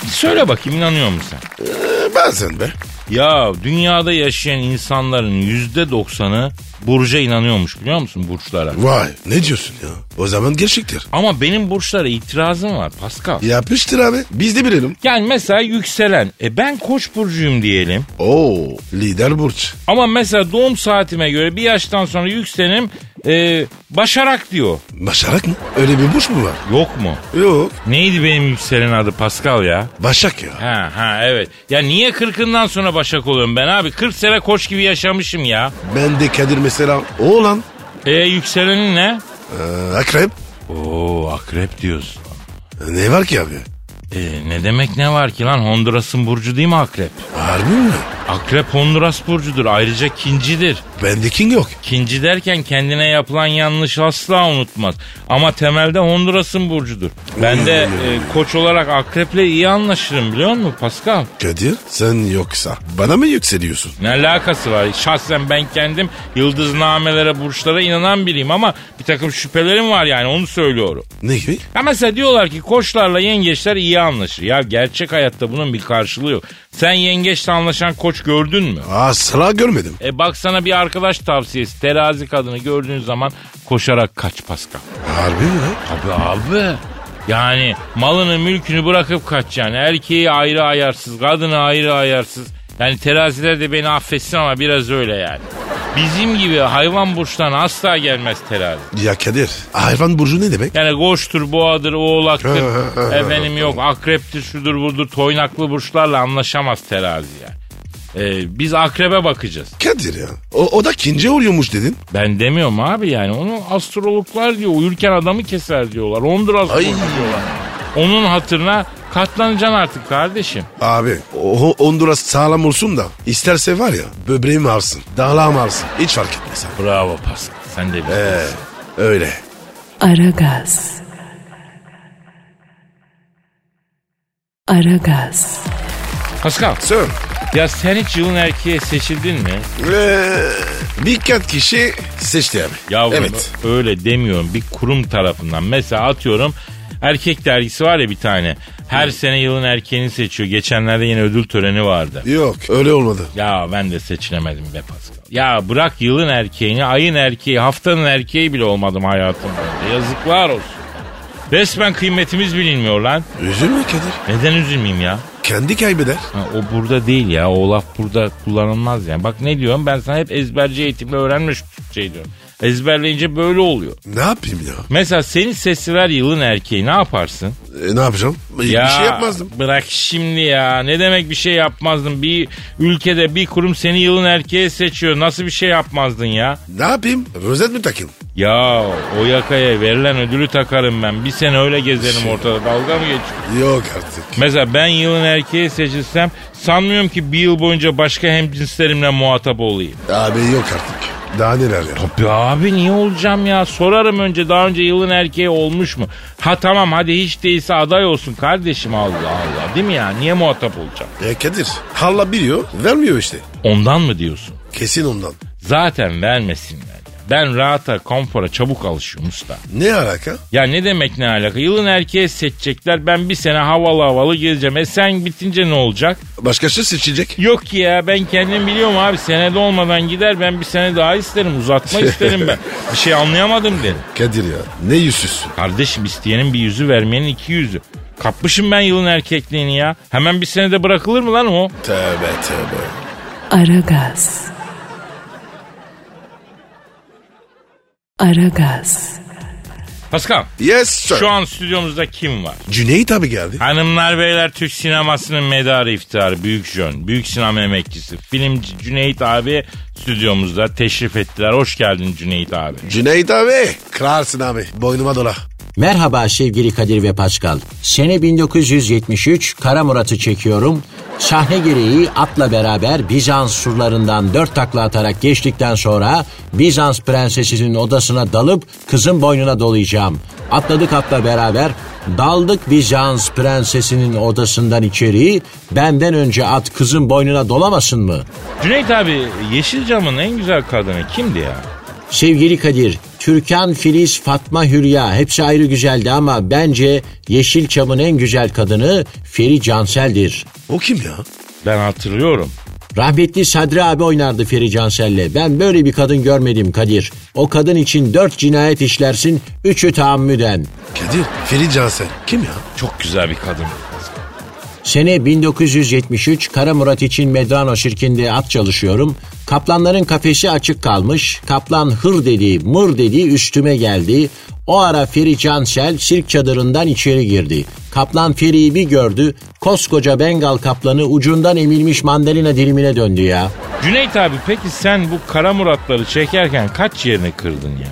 [SPEAKER 2] Bir söyle bakayım inanıyor musun sen?
[SPEAKER 3] Ee, bazen be.
[SPEAKER 2] Ya dünyada yaşayan insanların yüzde doksanı burca inanıyormuş biliyor musun burçlara?
[SPEAKER 3] Vay ne diyorsun ya? O zaman gerçektir.
[SPEAKER 2] Ama benim burçlara itirazım var Pascal.
[SPEAKER 3] Yapıştır abi. Biz de bilelim.
[SPEAKER 2] Yani mesela yükselen. E ben koç burcuyum diyelim.
[SPEAKER 3] Oo lider burç.
[SPEAKER 2] Ama mesela doğum saatime göre bir yaştan sonra yükselenim e, başarak diyor.
[SPEAKER 3] Başarak mı? Öyle bir burç mu var?
[SPEAKER 2] Yok mu?
[SPEAKER 3] Yok.
[SPEAKER 2] Neydi benim yükselen adı Pascal ya?
[SPEAKER 3] Başak ya.
[SPEAKER 2] Ha ha evet. Ya niye kırkından sonra başak oluyorum ben abi? 40 sene koç gibi yaşamışım ya.
[SPEAKER 3] Ben de Kadir mesela oğlan.
[SPEAKER 2] E yükselenin ne?
[SPEAKER 3] Ee, akrep.
[SPEAKER 2] Oo akrep diyorsun.
[SPEAKER 3] Ne var ki abi?
[SPEAKER 2] E, ne demek ne var ki lan Honduras'ın burcu değil mi akrep?
[SPEAKER 3] Harbi mi?
[SPEAKER 2] Akrep Honduras burcudur ayrıca kincidir.
[SPEAKER 3] Bende king yok.
[SPEAKER 2] Kinci derken kendine yapılan yanlış asla unutmaz. Ama temelde Honduras'ın burcudur. Ben de e, koç olarak akreple iyi anlaşırım biliyor musun Pascal?
[SPEAKER 3] Kadir sen yoksa bana mı yükseliyorsun?
[SPEAKER 2] Ne alakası var? Şahsen ben kendim yıldıznamelere, burçlara inanan biriyim ama bir takım şüphelerim var yani onu söylüyorum.
[SPEAKER 3] Ne gibi?
[SPEAKER 2] Ya mesela diyorlar ki koçlarla yengeçler iyi anlaşır. Ya gerçek hayatta bunun bir karşılığı yok. Sen yengeçle anlaşan koç gördün mü?
[SPEAKER 3] Asla görmedim.
[SPEAKER 2] E baksana bir arkadaş tavsiyesi. Terazi kadını gördüğün zaman koşarak kaç Pascal.
[SPEAKER 3] Harbi mi? lan?
[SPEAKER 2] Abi abi. Yani malını mülkünü bırakıp kaç yani. Erkeği ayrı ayarsız, kadını ayrı ayarsız. Yani teraziler de beni affetsin ama biraz öyle yani. Bizim gibi hayvan burçtan asla gelmez terazi.
[SPEAKER 3] Ya Kadir hayvan burcu ne demek?
[SPEAKER 2] Yani koçtur, boğadır, oğlaktır, efendim yok akreptir, şudur budur, toynaklı burçlarla anlaşamaz terazi yani. Ee, biz akrebe bakacağız.
[SPEAKER 3] Kadir ya o, o da kince oluyormuş dedin.
[SPEAKER 2] Ben demiyorum abi yani. Onu astrologlar diyor. Uyurken adamı keser diyorlar. Honduras
[SPEAKER 3] Ay.
[SPEAKER 2] burcu diyorlar. Onun hatırına katlanacaksın artık kardeşim.
[SPEAKER 3] Abi o, o Honduras sağlam olsun da isterse var ya böbreğimi alsın dağlağımı alsın hiç fark etmez abi.
[SPEAKER 2] Bravo Pascal. Sen de bir
[SPEAKER 3] Ee, öyle.
[SPEAKER 1] Aragaz. Aragaz.
[SPEAKER 2] Pascal
[SPEAKER 3] Sir
[SPEAKER 2] ya sen hiç yılın erkeği seçildin mi?
[SPEAKER 3] ee, birkaç kişi seçti abi.
[SPEAKER 2] Yavrum
[SPEAKER 3] Evet.
[SPEAKER 2] öyle demiyorum. Bir kurum tarafından. Mesela atıyorum erkek dergisi var ya bir tane. Her sene yılın erkeğini seçiyor. Geçenlerde yine ödül töreni vardı.
[SPEAKER 3] Yok öyle olmadı.
[SPEAKER 2] Ya ben de seçilemedim be Pascal. Ya bırak yılın erkeğini, ayın erkeği, haftanın erkeği bile olmadım hayatım boyunca. Yazıklar olsun. Resmen kıymetimiz bilinmiyor lan.
[SPEAKER 3] Üzülme Kadir.
[SPEAKER 2] Neden üzülmeyeyim ya?
[SPEAKER 3] Kendi kaybeder.
[SPEAKER 2] Ha, o burada değil ya. O laf burada kullanılmaz yani. Bak ne diyorum ben sana hep ezberci eğitimle öğrenmiş şey diyorum. Ezberleyince böyle oluyor.
[SPEAKER 3] Ne yapayım ya?
[SPEAKER 2] Mesela seni seçseler yılın erkeği ne yaparsın?
[SPEAKER 3] E, ne yapacağım? Bir şey yapmazdım.
[SPEAKER 2] Bırak şimdi ya. Ne demek bir şey yapmazdın? Bir ülkede bir kurum seni yılın erkeği seçiyor. Nasıl bir şey yapmazdın ya?
[SPEAKER 3] Ne yapayım? Rozet mi takayım?
[SPEAKER 2] Ya o yakaya verilen ödülü takarım ben. Bir sene öyle
[SPEAKER 3] Şey.
[SPEAKER 2] gezerim ortada. Dalga mı geçiyor?
[SPEAKER 3] Yok artık.
[SPEAKER 2] Mesela ben yılın erkeği seçilsem sanmıyorum ki bir yıl boyunca başka hemcinslerimle muhatap olayım.
[SPEAKER 3] Abi yok artık. Daha neler ya?
[SPEAKER 2] Ya abi niye olacağım ya? Sorarım önce daha önce yılın erkeği olmuş mu? Ha tamam hadi hiç değilse aday olsun kardeşim Allah Allah. Değil mi ya? Niye muhatap olacağım?
[SPEAKER 3] E Kadir. Halla biliyor. Vermiyor işte.
[SPEAKER 2] Ondan mı diyorsun?
[SPEAKER 3] Kesin ondan.
[SPEAKER 2] Zaten vermesinler. ya. Ben rahata, konfora çabuk alışıyorum usta.
[SPEAKER 3] Ne alaka?
[SPEAKER 2] Ya ne demek ne alaka? Yılın erkeği seçecekler. Ben bir sene havalı havalı gezeceğim. E sen bitince ne olacak?
[SPEAKER 3] Başkası seçecek.
[SPEAKER 2] Yok ki ya ben kendim biliyorum abi. Senede olmadan gider. Ben bir sene daha isterim. Uzatma isterim ben. Bir şey anlayamadım derim.
[SPEAKER 3] Kadir ya. Ne yüzsüzsün.
[SPEAKER 2] Kardeşim isteyenin bir yüzü vermeyenin iki yüzü. Kapmışım ben yılın erkekliğini ya. Hemen bir senede bırakılır mı lan o?
[SPEAKER 3] Tövbe tövbe.
[SPEAKER 1] Aragaz. Aragaz.
[SPEAKER 2] Paskal
[SPEAKER 3] Yes sir.
[SPEAKER 2] şu an stüdyomuzda kim var?
[SPEAKER 3] Cüneyt abi geldi.
[SPEAKER 2] Hanımlar beyler Türk sinemasının medarı iftiharı Büyük Jön. Büyük sinema emekçisi. Filmci Cüneyt abi stüdyomuzda teşrif ettiler. Hoş geldin Cüneyt abi.
[SPEAKER 3] Cüneyt abi. Kralsın abi. Boynuma dola.
[SPEAKER 5] Merhaba sevgili Kadir ve Pascal. Sene 1973 Kara Murat'ı çekiyorum. Sahne gereği atla beraber Bizans surlarından dört takla atarak geçtikten sonra Bizans prensesinin odasına dalıp kızın boynuna dolayacağım. Atladık atla beraber daldık Bizans prensesinin odasından içeri. Benden önce at kızın boynuna dolamasın mı?
[SPEAKER 2] Cüneyt abi Yeşilcam'ın en güzel kadını kimdi ya?
[SPEAKER 5] Sevgili Kadir, Türkan, Filiz, Fatma, Hülya hepsi ayrı güzeldi ama bence Yeşilçam'ın en güzel kadını Feri Cansel'dir.
[SPEAKER 3] O kim ya?
[SPEAKER 2] Ben hatırlıyorum.
[SPEAKER 5] Rahmetli Sadri abi oynardı Feri Cansel'le. Ben böyle bir kadın görmedim Kadir. O kadın için dört cinayet işlersin, üçü tahammüden.
[SPEAKER 3] Kadir. Feri Cansel. Kim ya?
[SPEAKER 2] Çok güzel bir kadın.
[SPEAKER 5] Sene 1973 Kara Murat için Medrano şirkinde at çalışıyorum. Kaplanların kafesi açık kalmış. Kaplan hır dedi, mır dedi üstüme geldi. O ara Feri Cansel sirk çadırından içeri girdi. Kaplan Feri'yi bir gördü. Koskoca Bengal kaplanı ucundan emilmiş mandalina dilimine döndü ya.
[SPEAKER 2] Cüneyt abi peki sen bu kara muratları çekerken kaç yerini kırdın ya?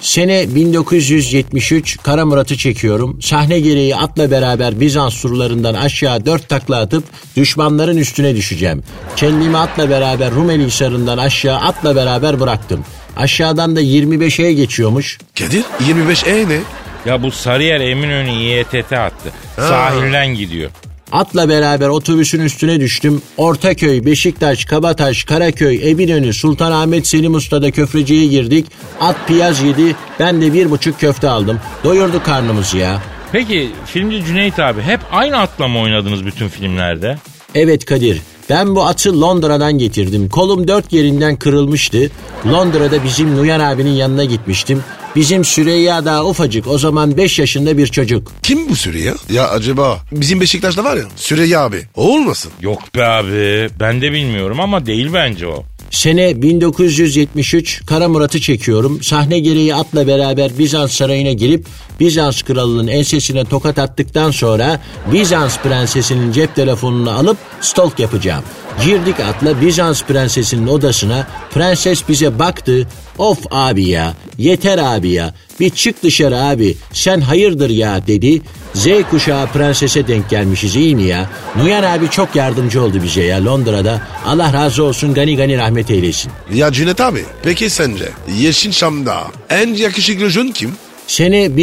[SPEAKER 5] Sene 1973 Kara Murat'ı çekiyorum. Sahne gereği atla beraber Bizans surlarından aşağı dört takla atıp düşmanların üstüne düşeceğim. Kendimi atla beraber Rumeli Hisarı'ndan aşağı atla beraber bıraktım. Aşağıdan da 25'e geçiyormuş.
[SPEAKER 3] Kadir. 25E ne?
[SPEAKER 2] Ya bu Sarıyer Eminönü İETT attı. Sahilden gidiyor.
[SPEAKER 5] Atla beraber otobüsün üstüne düştüm. Ortaköy, Beşiktaş, Kabataş, Karaköy, Eminönü, Sultanahmet, Selim Usta'da köfteciye girdik. At piyaz yedi. Ben de bir buçuk köfte aldım. Doyurdu karnımızı ya.
[SPEAKER 2] Peki filmci Cüneyt abi hep aynı atla mı oynadınız bütün filmlerde?
[SPEAKER 5] Evet Kadir. Ben bu atı Londra'dan getirdim. Kolum dört yerinden kırılmıştı. Londra'da bizim Nuyan abinin yanına gitmiştim. Bizim Süreyya daha ufacık. O zaman 5 yaşında bir çocuk.
[SPEAKER 3] Kim bu Süreyya? Ya acaba bizim Beşiktaş'ta var ya Süreyya abi. O olmasın?
[SPEAKER 2] Yok be abi ben de bilmiyorum ama değil bence o.
[SPEAKER 5] Sene 1973 Kara Murat'ı çekiyorum. Sahne gereği atla beraber Bizans sarayına girip Bizans kralının ensesine tokat attıktan sonra Bizans prensesinin cep telefonunu alıp stalk yapacağım. Girdik atla Bizans prensesinin odasına. Prenses bize baktı. Of abi ya. Yeter abi ya. Bir çık dışarı abi. Sen hayırdır ya dedi. Z kuşağı prensese denk gelmişiz iyi mi ya? Nuyan abi çok yardımcı oldu bize ya Londra'da. Allah razı olsun gani gani rahmet eylesin.
[SPEAKER 3] Ya Cüneyt abi peki sence Yeşilçam'da en yakışıklı jön kim?
[SPEAKER 5] Sene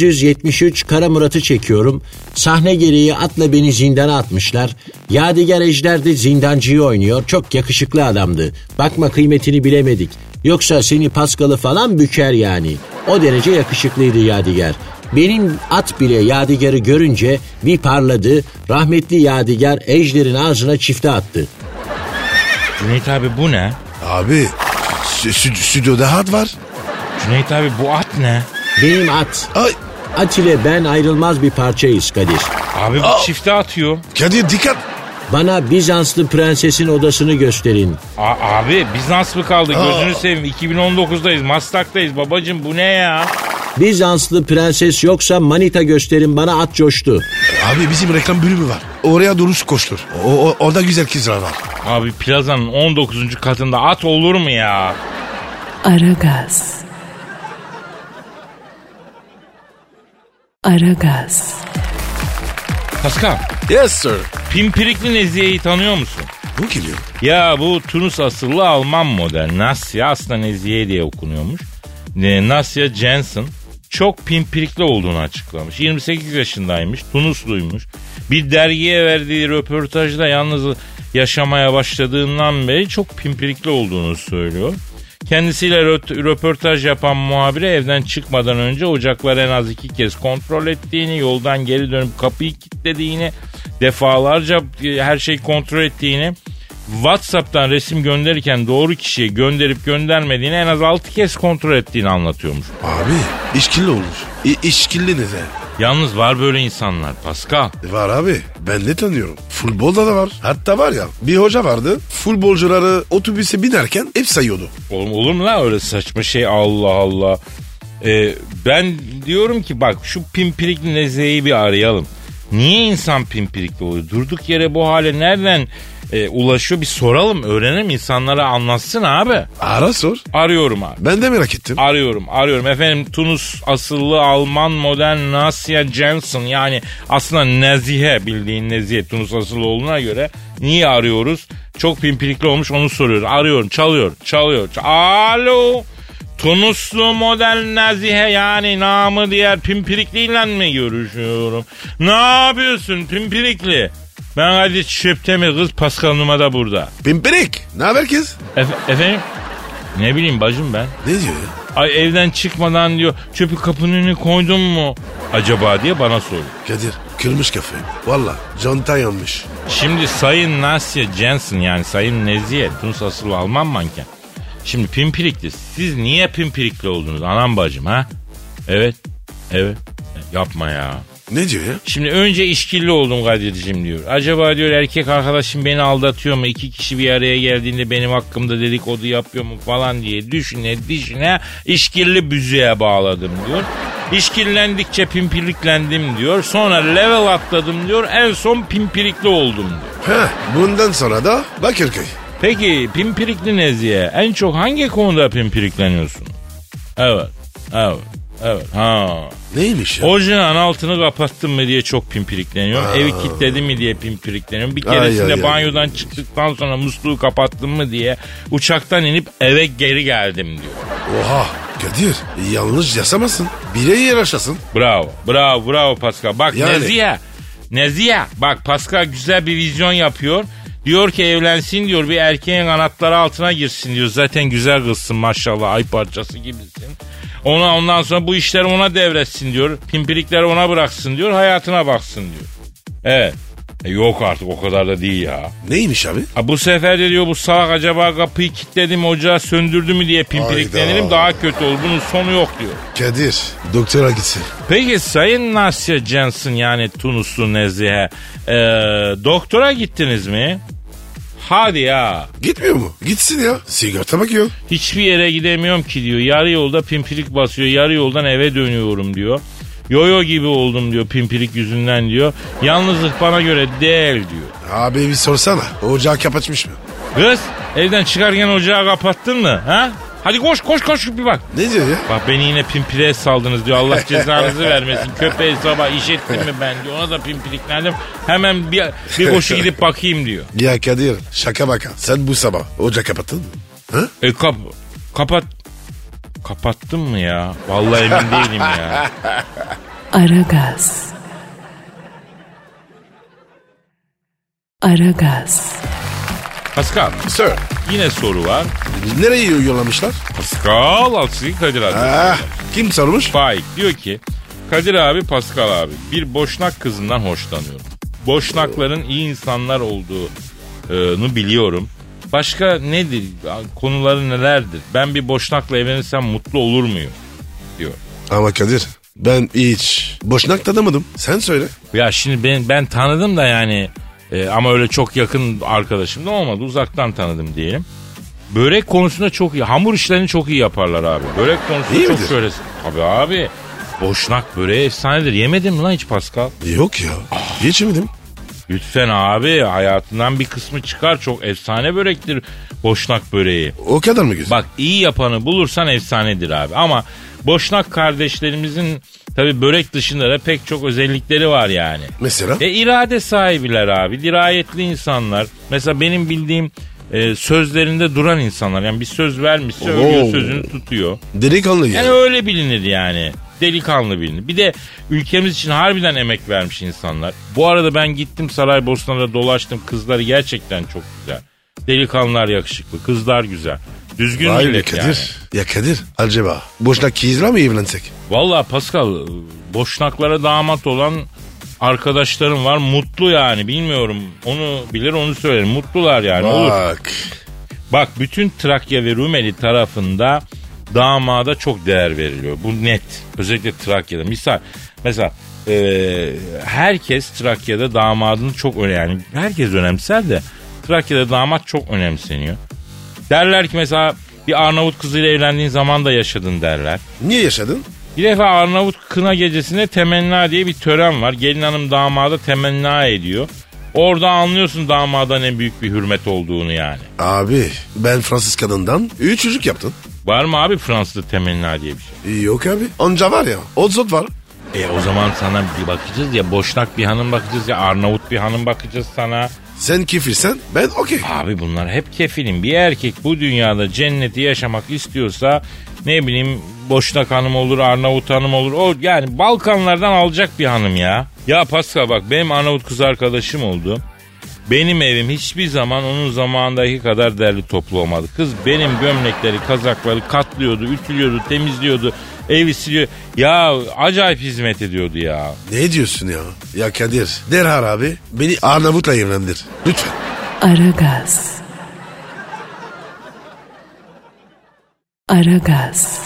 [SPEAKER 5] 1973 Kara Murat'ı çekiyorum. Sahne gereği atla beni zindana atmışlar. Yadigar Ejder de zindancıyı oynuyor. Çok yakışıklı adamdı. Bakma kıymetini bilemedik. Yoksa seni Paskalı falan büker yani. O derece yakışıklıydı Yadigar. Benim at bile Yadigar'ı görünce bir parladı. Rahmetli Yadigar Ejder'in ağzına çifte attı.
[SPEAKER 2] Cüneyt abi bu ne?
[SPEAKER 3] Abi stü- stü- stüdyoda hat var.
[SPEAKER 2] Cüneyt abi bu at ne?
[SPEAKER 5] Benim at.
[SPEAKER 3] Ay
[SPEAKER 5] At ile ben ayrılmaz bir parçayız Kadir.
[SPEAKER 2] Abi bu çifte atıyor.
[SPEAKER 3] Kadir dikkat.
[SPEAKER 5] Bana Bizanslı prensesin odasını gösterin.
[SPEAKER 2] A- abi biz nasıl mı kaldık gözünü seveyim 2019'dayız Maslak'tayız babacım bu ne ya?
[SPEAKER 5] Bizanslı prenses yoksa manita gösterin bana at coştu.
[SPEAKER 3] Abi bizim reklam bölümü var. Oraya doğru koştur. O, o- orada güzel kızlar var.
[SPEAKER 2] Abi plazanın 19. katında at olur mu ya?
[SPEAKER 1] Aragaz. Aragaz.
[SPEAKER 2] Pascal
[SPEAKER 3] Yes sir.
[SPEAKER 2] pimpirikli Nezihe'yi tanıyor musun?
[SPEAKER 3] Bu kim ya?
[SPEAKER 2] Ya bu Tunus asıllı Alman model Nasya aslında Nezihe diye okunuyormuş. E, Nasya Jensen çok pimpirikli olduğunu açıklamış. 28 yaşındaymış, Tunusluymuş. Bir dergiye verdiği röportajda yalnız yaşamaya başladığından beri çok pimpirikli olduğunu söylüyor. Kendisiyle röt- röportaj yapan muhabire evden çıkmadan önce ocakları en az iki kez kontrol ettiğini, yoldan geri dönüp kapıyı kilitlediğini, defalarca e, her şeyi kontrol ettiğini, WhatsApp'tan resim gönderirken doğru kişiye gönderip göndermediğini en az 6 kez kontrol ettiğini anlatıyormuş.
[SPEAKER 3] Abi işkilli olmuş. İ- işkilli ne de?
[SPEAKER 2] Yalnız var böyle insanlar Pascal.
[SPEAKER 3] Var abi. Ben de tanıyorum. Futbolda da var. Hatta var ya bir hoca vardı. Futbolcuları otobüse binerken hep sayıyordu.
[SPEAKER 2] Oğlum olur mu lan öyle saçma şey Allah Allah. Ee, ben diyorum ki bak şu pimpirikli nezeyi bir arayalım. Niye insan pimpirikli oluyor? Durduk yere bu hale nereden e, ulaşıyor? Bir soralım öğrenelim insanlara anlatsın abi.
[SPEAKER 3] Ara sor.
[SPEAKER 2] Arıyorum abi.
[SPEAKER 3] Ben de merak ettim.
[SPEAKER 2] Arıyorum, arıyorum. Efendim Tunus asıllı Alman modern Nasia Jensen yani aslında Nezihe bildiğin Nezihe Tunus asıllı olduğuna göre niye arıyoruz? Çok pimpirikli olmuş onu soruyoruz. Arıyorum, çalıyor, çalıyor. Ç- Alo. Tunuslu model Nazihe yani namı diğer pimpirikliyle mi görüşüyorum? Ne yapıyorsun pimpirikli? Ben hadi çöpte mi kız Pascal Numa da burada.
[SPEAKER 3] Pimpirik. Ne haber kız?
[SPEAKER 2] Efe- efendim? Ne bileyim bacım ben.
[SPEAKER 3] Ne diyor ya?
[SPEAKER 2] Ay evden çıkmadan diyor çöpü kapının önüne koydun mu acaba diye bana soruyor.
[SPEAKER 3] Kadir kırmış kafayı. Valla conta yanmış.
[SPEAKER 2] Şimdi Sayın Nasya Jensen yani Sayın Neziye Tunus asıllı Alman manken. Şimdi pimpirikli. Siz niye pimpirikli oldunuz anam bacım ha? Evet. Evet. Yapma ya.
[SPEAKER 3] Ne diyor ya?
[SPEAKER 2] Şimdi önce işkilli oldum Kadir'cim diyor. Acaba diyor erkek arkadaşım beni aldatıyor mu? İki kişi bir araya geldiğinde benim hakkımda dedikodu yapıyor mu falan diye düşüne düşüne işkilli büzüğe bağladım diyor. İşkillendikçe pimpiriklendim diyor. Sonra level atladım diyor. En son pimpirikli oldum diyor.
[SPEAKER 3] Heh, bundan sonra da Bakırköy.
[SPEAKER 2] Peki pimpirikli Neziye en çok hangi konuda pimpirikleniyorsun? Evet, evet, evet. Ha,
[SPEAKER 3] Neymiş ya?
[SPEAKER 2] Orijinal altını kapattım mı diye çok pimpirik Evi kilitledim mi diye pimpirikleniyorum. Bir
[SPEAKER 3] Ay,
[SPEAKER 2] keresinde
[SPEAKER 3] ay, ay.
[SPEAKER 2] banyodan çıktıktan sonra musluğu kapattım mı diye uçaktan inip eve geri geldim diyor.
[SPEAKER 3] Oha Kadir yanlış yasamasın. Bire yer aşasın.
[SPEAKER 2] Bravo, bravo, bravo Pascal. Bak
[SPEAKER 3] Yani.
[SPEAKER 2] Nezihe, Nezihe. Bak Pascal güzel bir vizyon yapıyor. Diyor ki evlensin diyor bir erkeğin kanatları altına girsin diyor. Zaten güzel kızsın maşallah ay parçası gibisin. Ona ondan sonra bu işleri ona devretsin diyor. Pimpirikleri ona bıraksın diyor. Hayatına baksın diyor. Evet. E yok artık o kadar da değil ya.
[SPEAKER 3] Neymiş abi?
[SPEAKER 2] Ha bu sefer de diyor bu salak acaba kapıyı kilitledi mi ocağı söndürdü mü diye pimpiriklenirim
[SPEAKER 3] Hayda.
[SPEAKER 2] daha kötü olur. Bunun sonu yok diyor.
[SPEAKER 3] Kadir doktora gitsin.
[SPEAKER 2] Peki Sayın Nasya Jensen yani Tunuslu Nezihe e, doktora gittiniz mi? Hadi ya
[SPEAKER 3] Gitmiyor mu? Gitsin ya. Sigorta bakıyor.
[SPEAKER 2] hiçbir yere gidemiyorum ki diyor. Yarı yolda pimpirik basıyor yarı yoldan eve dönüyorum diyor. Yoyo gibi oldum diyor pimpirik yüzünden diyor. Yalnızlık bana göre değil diyor.
[SPEAKER 3] Abi bir sorsana. Ocağı kapatmış mı?
[SPEAKER 2] Kız evden çıkarken ocağı kapattın mı? Ha? Hadi koş koş koş bir bak.
[SPEAKER 3] Ne diyor ya?
[SPEAKER 2] Bak beni yine pimpire saldınız diyor. Allah cezanızı vermesin. Köpeği sabah iş ettim mi ben diyor. Ona da pimpiriklendim. Hemen bir, bir koşu gidip bakayım diyor.
[SPEAKER 3] Ya Kadir şaka baka. Sen bu sabah ocağı kapattın mı? Ha?
[SPEAKER 2] E kap, kapat. Kapattım mı ya? Vallahi emin değilim ya.
[SPEAKER 1] Aragaz. Aragaz.
[SPEAKER 2] Pascal
[SPEAKER 3] Sir.
[SPEAKER 2] yine soru var.
[SPEAKER 3] Nereye yollamışlar?
[SPEAKER 2] Pascal Askı Kadir abi.
[SPEAKER 3] Ah, kim sormuş?
[SPEAKER 2] Faik diyor ki Kadir abi Pascal abi bir boşnak kızından hoşlanıyorum. Boşnakların iyi insanlar olduğunu biliyorum. Başka nedir? Konuları nelerdir? Ben bir boşnakla evlenirsem mutlu olur muyum? Diyor.
[SPEAKER 3] Ama Kadir ben hiç boşnak tadamadım. Sen söyle.
[SPEAKER 2] Ya şimdi ben, ben tanıdım da yani e, ama öyle çok yakın arkadaşım da olmadı. Uzaktan tanıdım diyelim. Börek konusunda çok iyi. Hamur işlerini çok iyi yaparlar abi. Börek konusunda
[SPEAKER 3] İyi
[SPEAKER 2] çok
[SPEAKER 3] midir?
[SPEAKER 2] şöyle. Tabii abi. Boşnak böreği efsanedir. Yemedin mi lan hiç Pascal?
[SPEAKER 3] Yok ya. Geçemedim.
[SPEAKER 2] Lütfen abi hayatından bir kısmı çıkar. Çok efsane börektir boşnak böreği.
[SPEAKER 3] O kadar mı güzel?
[SPEAKER 2] Bak iyi yapanı bulursan efsanedir abi. Ama boşnak kardeşlerimizin tabi börek dışında da pek çok özellikleri var yani.
[SPEAKER 3] Mesela?
[SPEAKER 2] E irade sahibiler abi. Dirayetli insanlar. Mesela benim bildiğim e, sözlerinde duran insanlar. Yani bir söz vermişse övüyor,
[SPEAKER 3] Oo.
[SPEAKER 2] sözünü tutuyor.
[SPEAKER 3] Delikanlı
[SPEAKER 2] Yani
[SPEAKER 3] yani.
[SPEAKER 2] öyle bilinir yani. Delikanlı bilinir. Bir de ülkemiz için harbiden emek vermiş insanlar. Bu arada ben gittim Saraybosna'da dolaştım. Kızları gerçekten çok güzel. Delikanlılar yakışıklı. Kızlar güzel. Düzgün
[SPEAKER 3] Vay be
[SPEAKER 2] millet
[SPEAKER 3] Kadir.
[SPEAKER 2] yani.
[SPEAKER 3] Ya Kadir acaba boşnak kızla mı evlensek?
[SPEAKER 2] Valla Pascal boşnaklara damat olan arkadaşlarım var. Mutlu yani bilmiyorum. Onu bilir onu söylerim. Mutlular yani olur.
[SPEAKER 3] Bak.
[SPEAKER 2] Bak bütün Trakya ve Rumeli tarafında damada çok değer veriliyor. Bu net. Özellikle Trakya'da. Misal mesela e, herkes Trakya'da damadını çok önemli. Yani herkes önemser de Trakya'da damat çok önemseniyor. Derler ki mesela bir Arnavut kızıyla evlendiğin zaman da yaşadın derler.
[SPEAKER 3] Niye yaşadın?
[SPEAKER 2] Bir defa Arnavut kına gecesinde temenna diye bir tören var. Gelin hanım damada temenna ediyor. Orada anlıyorsun damada ne büyük bir hürmet olduğunu yani.
[SPEAKER 3] Abi ben Fransız kadından 3 çocuk yaptım.
[SPEAKER 2] Var mı abi Fransızlı temenni diye bir şey?
[SPEAKER 3] Yok abi. Onca var ya. Odzot var.
[SPEAKER 2] E o zaman sana bir bakacağız ya boşnak bir hanım bakacağız ya Arnavut bir hanım bakacağız sana.
[SPEAKER 3] Sen kefirsen ben okey.
[SPEAKER 2] Abi bunlar hep kefilim. Bir erkek bu dünyada cenneti yaşamak istiyorsa ne bileyim Boşnak hanım olur, Arnavut hanım olur. O yani Balkanlardan alacak bir hanım ya. Ya Pascal bak benim Arnavut kız arkadaşım oldu. Benim evim hiçbir zaman onun zamandaki kadar derli toplu olmadı. Kız benim gömlekleri, kazakları katlıyordu, ütülüyordu, temizliyordu, evi siliyor. Ya acayip hizmet ediyordu ya.
[SPEAKER 3] Ne diyorsun ya? Ya Kadir derhal abi beni Arnavut'la evlendir. Lütfen.
[SPEAKER 1] Aragaz. Aragaz.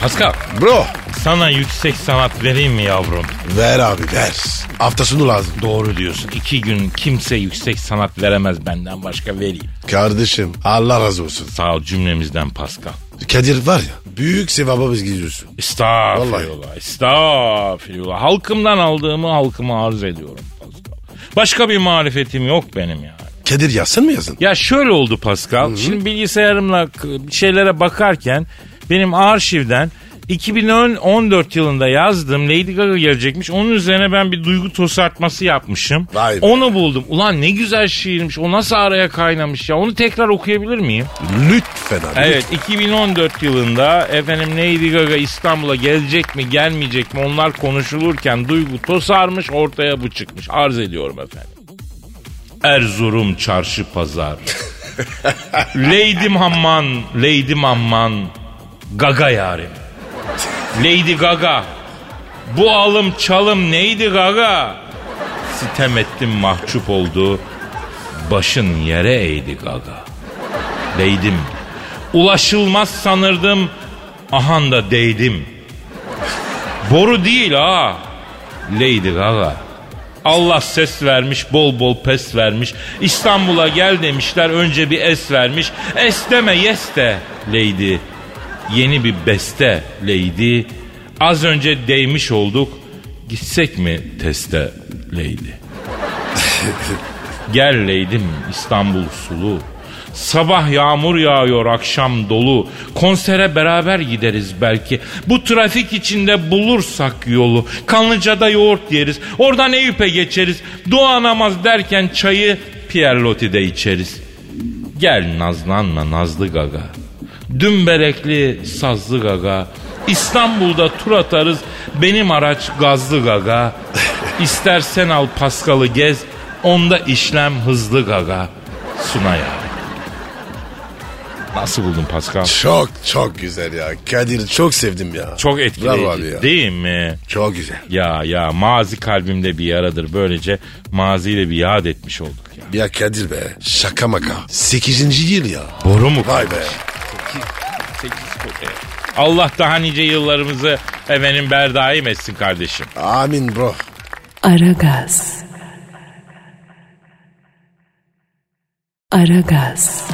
[SPEAKER 2] Pascal
[SPEAKER 3] Bro
[SPEAKER 2] sana yüksek sanat vereyim mi yavrum?
[SPEAKER 3] ver abi ver. Hafta sonu lazım.
[SPEAKER 2] Doğru diyorsun. İki gün kimse yüksek sanat veremez benden başka vereyim.
[SPEAKER 3] Kardeşim Allah razı olsun.
[SPEAKER 2] Sağ ol cümlemizden Pascal.
[SPEAKER 3] Kadir var ya büyük sevaba biz gidiyorsun.
[SPEAKER 2] Estağfirullah. Estağfirullah. Halkımdan aldığımı halkıma arz ediyorum Pascal. Başka bir marifetim yok benim yani.
[SPEAKER 3] Kadir yazsın mı yazın?
[SPEAKER 2] Ya şöyle oldu Pascal. Şimdi bilgisayarımla k- bir şeylere bakarken benim arşivden 2014 yılında yazdım Lady Gaga gelecekmiş. Onun üzerine ben bir duygu tosartması yapmışım.
[SPEAKER 3] Vay be.
[SPEAKER 2] Onu buldum. Ulan ne güzel şiirmiş. O nasıl araya kaynamış ya. Onu tekrar okuyabilir miyim?
[SPEAKER 3] Lütfen abi.
[SPEAKER 2] Evet 2014 yılında efendim Lady Gaga İstanbul'a gelecek mi gelmeyecek mi onlar konuşulurken duygu tosarmış ortaya bu çıkmış. Arz ediyorum efendim. Erzurum çarşı pazar. Leydim aman, leydim aman. Gaga yarim. Lady Gaga. Bu alım çalım neydi Gaga? Sitem ettim mahcup oldu. Başın yere eğdi Gaga. Değdim. Ulaşılmaz sanırdım. Ahan da değdim. Boru değil ha. Lady Gaga. Allah ses vermiş, bol bol pes vermiş. İstanbul'a gel demişler, önce bir es vermiş. Es deme, yes de Lady. Yeni bir beste Lady. Az önce değmiş olduk. Gitsek mi teste Lady? Gel Leydim İstanbul sulu. Sabah yağmur yağıyor akşam dolu. Konsere beraber gideriz belki. Bu trafik içinde bulursak yolu. Kanlıca'da yoğurt yeriz. Oradan Eyüp'e geçeriz. Dua namaz derken çayı Pierlotti'de içeriz. Gel nazlanma nazlı gaga. Dümberekli sazlı gaga. İstanbul'da tur atarız. Benim araç gazlı gaga. İstersen al Paskal'ı gez. Onda işlem hızlı gaga. Sunay abi. Nasıl buldun Paskal?
[SPEAKER 3] Çok çok güzel ya. Kadir çok sevdim ya.
[SPEAKER 2] Çok
[SPEAKER 3] Bravo abi
[SPEAKER 2] etkileyici
[SPEAKER 3] ya.
[SPEAKER 2] değil mi?
[SPEAKER 3] Çok güzel.
[SPEAKER 2] Ya ya mazi kalbimde bir yaradır. Böylece maziyle bir yad etmiş olduk ya.
[SPEAKER 3] Ya Kadir be şaka maka. 8. yıl ya.
[SPEAKER 2] Boru mu?
[SPEAKER 3] Vay be.
[SPEAKER 2] Allah daha nice yıllarımızı efendim berdaim etsin kardeşim.
[SPEAKER 3] Amin bro.
[SPEAKER 1] Aragaz. Aragaz.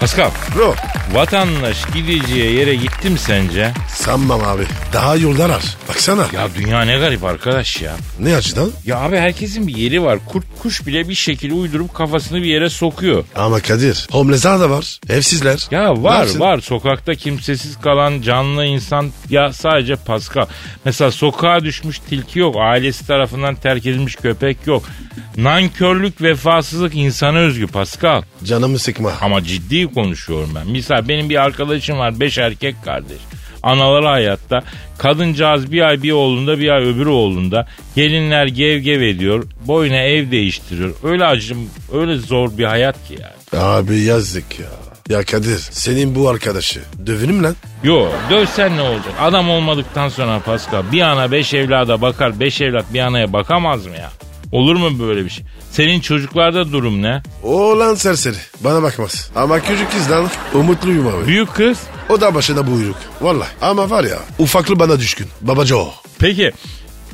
[SPEAKER 2] Pascal,
[SPEAKER 3] Bro
[SPEAKER 2] vatandaş gideceği yere gittim sence?
[SPEAKER 3] sanmam abi. Daha yollar var. Baksana.
[SPEAKER 2] Ya dünya ne garip arkadaş ya.
[SPEAKER 3] Ne açıdan?
[SPEAKER 2] Ya abi herkesin bir yeri var. Kurt kuş bile bir şekilde uydurup kafasını bir yere sokuyor.
[SPEAKER 3] Ama Kadir. Homeless'ler de var. Evsizler.
[SPEAKER 2] Ya
[SPEAKER 3] Ne
[SPEAKER 2] var
[SPEAKER 3] yapsın?
[SPEAKER 2] var sokakta kimsesiz kalan canlı insan ya sadece Pascal. Mesela sokağa düşmüş tilki yok. Ailesi tarafından terk edilmiş köpek yok. Nankörlük vefasızlık insana özgü Pascal.
[SPEAKER 3] Canımı sıkma.
[SPEAKER 2] Ama ciddi konuşuyorum ben. Misal benim bir arkadaşım var. Beş erkek kardeş. Anaları hayatta. Kadıncağız bir ay bir oğlunda bir ay öbür oğlunda. Gelinler gev gev ediyor. Boyuna ev değiştiriyor. Öyle acım öyle zor bir hayat ki yani.
[SPEAKER 3] Abi yazık ya. Ya Kadir senin bu arkadaşı dövünüm lan.
[SPEAKER 2] Yo dövsen ne olacak? Adam olmadıktan sonra Pascal bir ana beş evlada bakar beş evlat bir anaya bakamaz mı ya? Olur mu böyle bir şey? Senin çocuklarda durum ne?
[SPEAKER 3] Oğlan serseri bana bakmaz. Ama küçük kızdan umutluyum abi.
[SPEAKER 2] Büyük kız.
[SPEAKER 3] O da başına buyruk. Vallahi ama var ya ufaklı bana düşkün. Babaca o.
[SPEAKER 2] Peki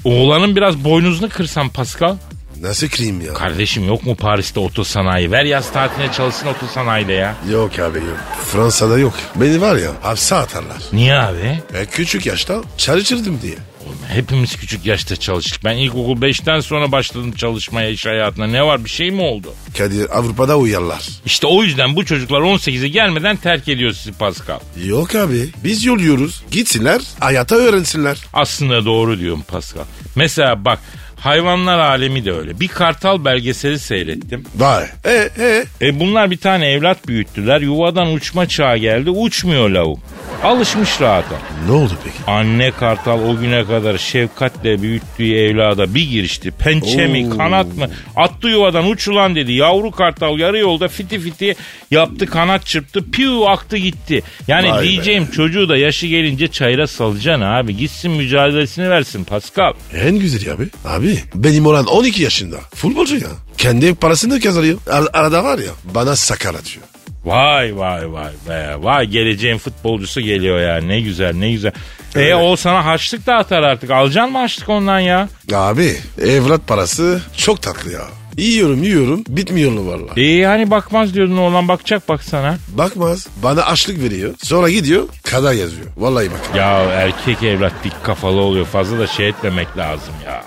[SPEAKER 2] oğlanın biraz boynuzunu kırsan Pascal.
[SPEAKER 3] Nasıl kırayım ya?
[SPEAKER 2] Kardeşim yok mu Paris'te otosanayi? Ver yaz tatiline çalışsın otosanayide ya.
[SPEAKER 3] yok abi yok. Fransa'da yok. Beni var ya hapse atarlar. E,
[SPEAKER 2] Niye abi?
[SPEAKER 3] Ben küçük yaşta çalışırdım diye.
[SPEAKER 2] Oğlum Hepimiz küçük yaşta çalıştık. Ben ilkokul 5'ten sonra başladım çalışmaya iş hayatına. Ne var bir şey mi oldu?
[SPEAKER 3] Kadir Avrupa'da uyarlar.
[SPEAKER 2] İşte o yüzden bu çocuklar 18'e gelmeden terk ediyor sizi Pascal.
[SPEAKER 3] Yok abi biz yolluyoruz. Gitsinler hayata öğrensinler.
[SPEAKER 2] Aslında doğru diyorum Pascal. Mesela bak hayvanlar alemi de öyle. Bir kartal belgeseli seyrettim.
[SPEAKER 3] Vay. E e
[SPEAKER 2] E bunlar bir tane evlat büyüttüler. Yuvadan uçma çağı geldi. Uçmuyor lavuk. Alışmış rahata.
[SPEAKER 3] ne oldu peki?
[SPEAKER 2] Anne kartal o güne kadar şefkatle büyüttüğü evlada bir girişti. Pençe mi kanat mı? Attı yuvadan uçulan dedi. Yavru kartal yarı yolda fiti fiti yaptı kanat çırptı. Piu aktı gitti. Yani
[SPEAKER 3] Vay be.
[SPEAKER 2] diyeceğim çocuğu da yaşı gelince çayıra salacaksın abi. Gitsin mücadelesini versin Pascal.
[SPEAKER 3] En güzeli abi. Abi benim olan 12 yaşında. Futbolcu ya. Kendi parasını kazanıyor. Ar- arada var ya bana sakar atıyor.
[SPEAKER 2] Vay vay vay be. Vay geleceğin futbolcusu geliyor ya. Ne güzel ne güzel.
[SPEAKER 3] Evet.
[SPEAKER 2] E o sana harçlık da atar artık. Alacaksın mı harçlık ondan ya?
[SPEAKER 3] Abi evlat parası çok tatlı ya. Yiyorum yiyorum bitmiyor valla.
[SPEAKER 2] E yani bakmaz diyordun oğlan bakacak baksana.
[SPEAKER 3] Bakmaz bana açlık veriyor. Sonra gidiyor kadar yazıyor. Vallahi bak.
[SPEAKER 2] Ya erkek evlat dik kafalı oluyor. Fazla da şey etmemek lazım ya.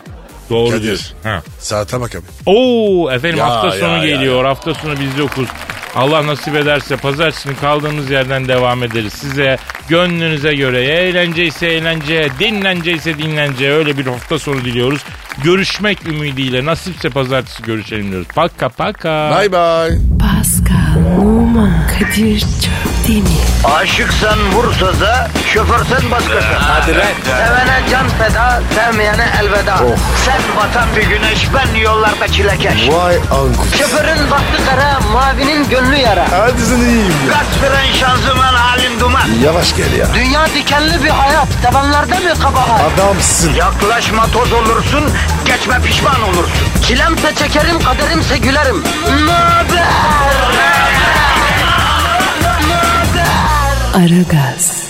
[SPEAKER 2] Doğru
[SPEAKER 3] Kadir.
[SPEAKER 2] diyorsun. Ha.
[SPEAKER 3] Saate bak abi.
[SPEAKER 2] Oo efendim
[SPEAKER 3] Ya,
[SPEAKER 2] hafta sonu
[SPEAKER 3] ya, ya,
[SPEAKER 2] geliyor. Hafta sonu biz yokuz. Allah nasip ederse pazartesi günü kaldığımız yerden devam ederiz. Size gönlünüze göre eğlence ise eğlence, dinlence ise dinlence öyle bir hafta sonu diliyoruz. Görüşmek ümidiyle nasipse pazartesi görüşelim diyoruz. Paka paka.
[SPEAKER 3] Bye bye.
[SPEAKER 1] Pascal, Oman, Kadir çok değil mi?
[SPEAKER 6] Aşıksan vursa da, şoförsen başkasın. Hadi Sevene can feda, sevmeyene elveda. Sen batan bir güneş, ben yollarda çilekeş.
[SPEAKER 3] Vay anku.
[SPEAKER 6] Şoförün baktı kara, mavinin gönlü yara.
[SPEAKER 3] Hadi sen iyiyim ya.
[SPEAKER 6] Kasperen şanzıman halin duman.
[SPEAKER 3] Yavaş gel ya.
[SPEAKER 6] Dünya dikenli bir hayat, sevenlerde mi kabahar?
[SPEAKER 3] Adamsın.
[SPEAKER 6] Yaklaşma toz olursun, geçme pişman olursun. Çilemse çekerim, kaderimse gülerim. Möber!
[SPEAKER 1] Aragaz.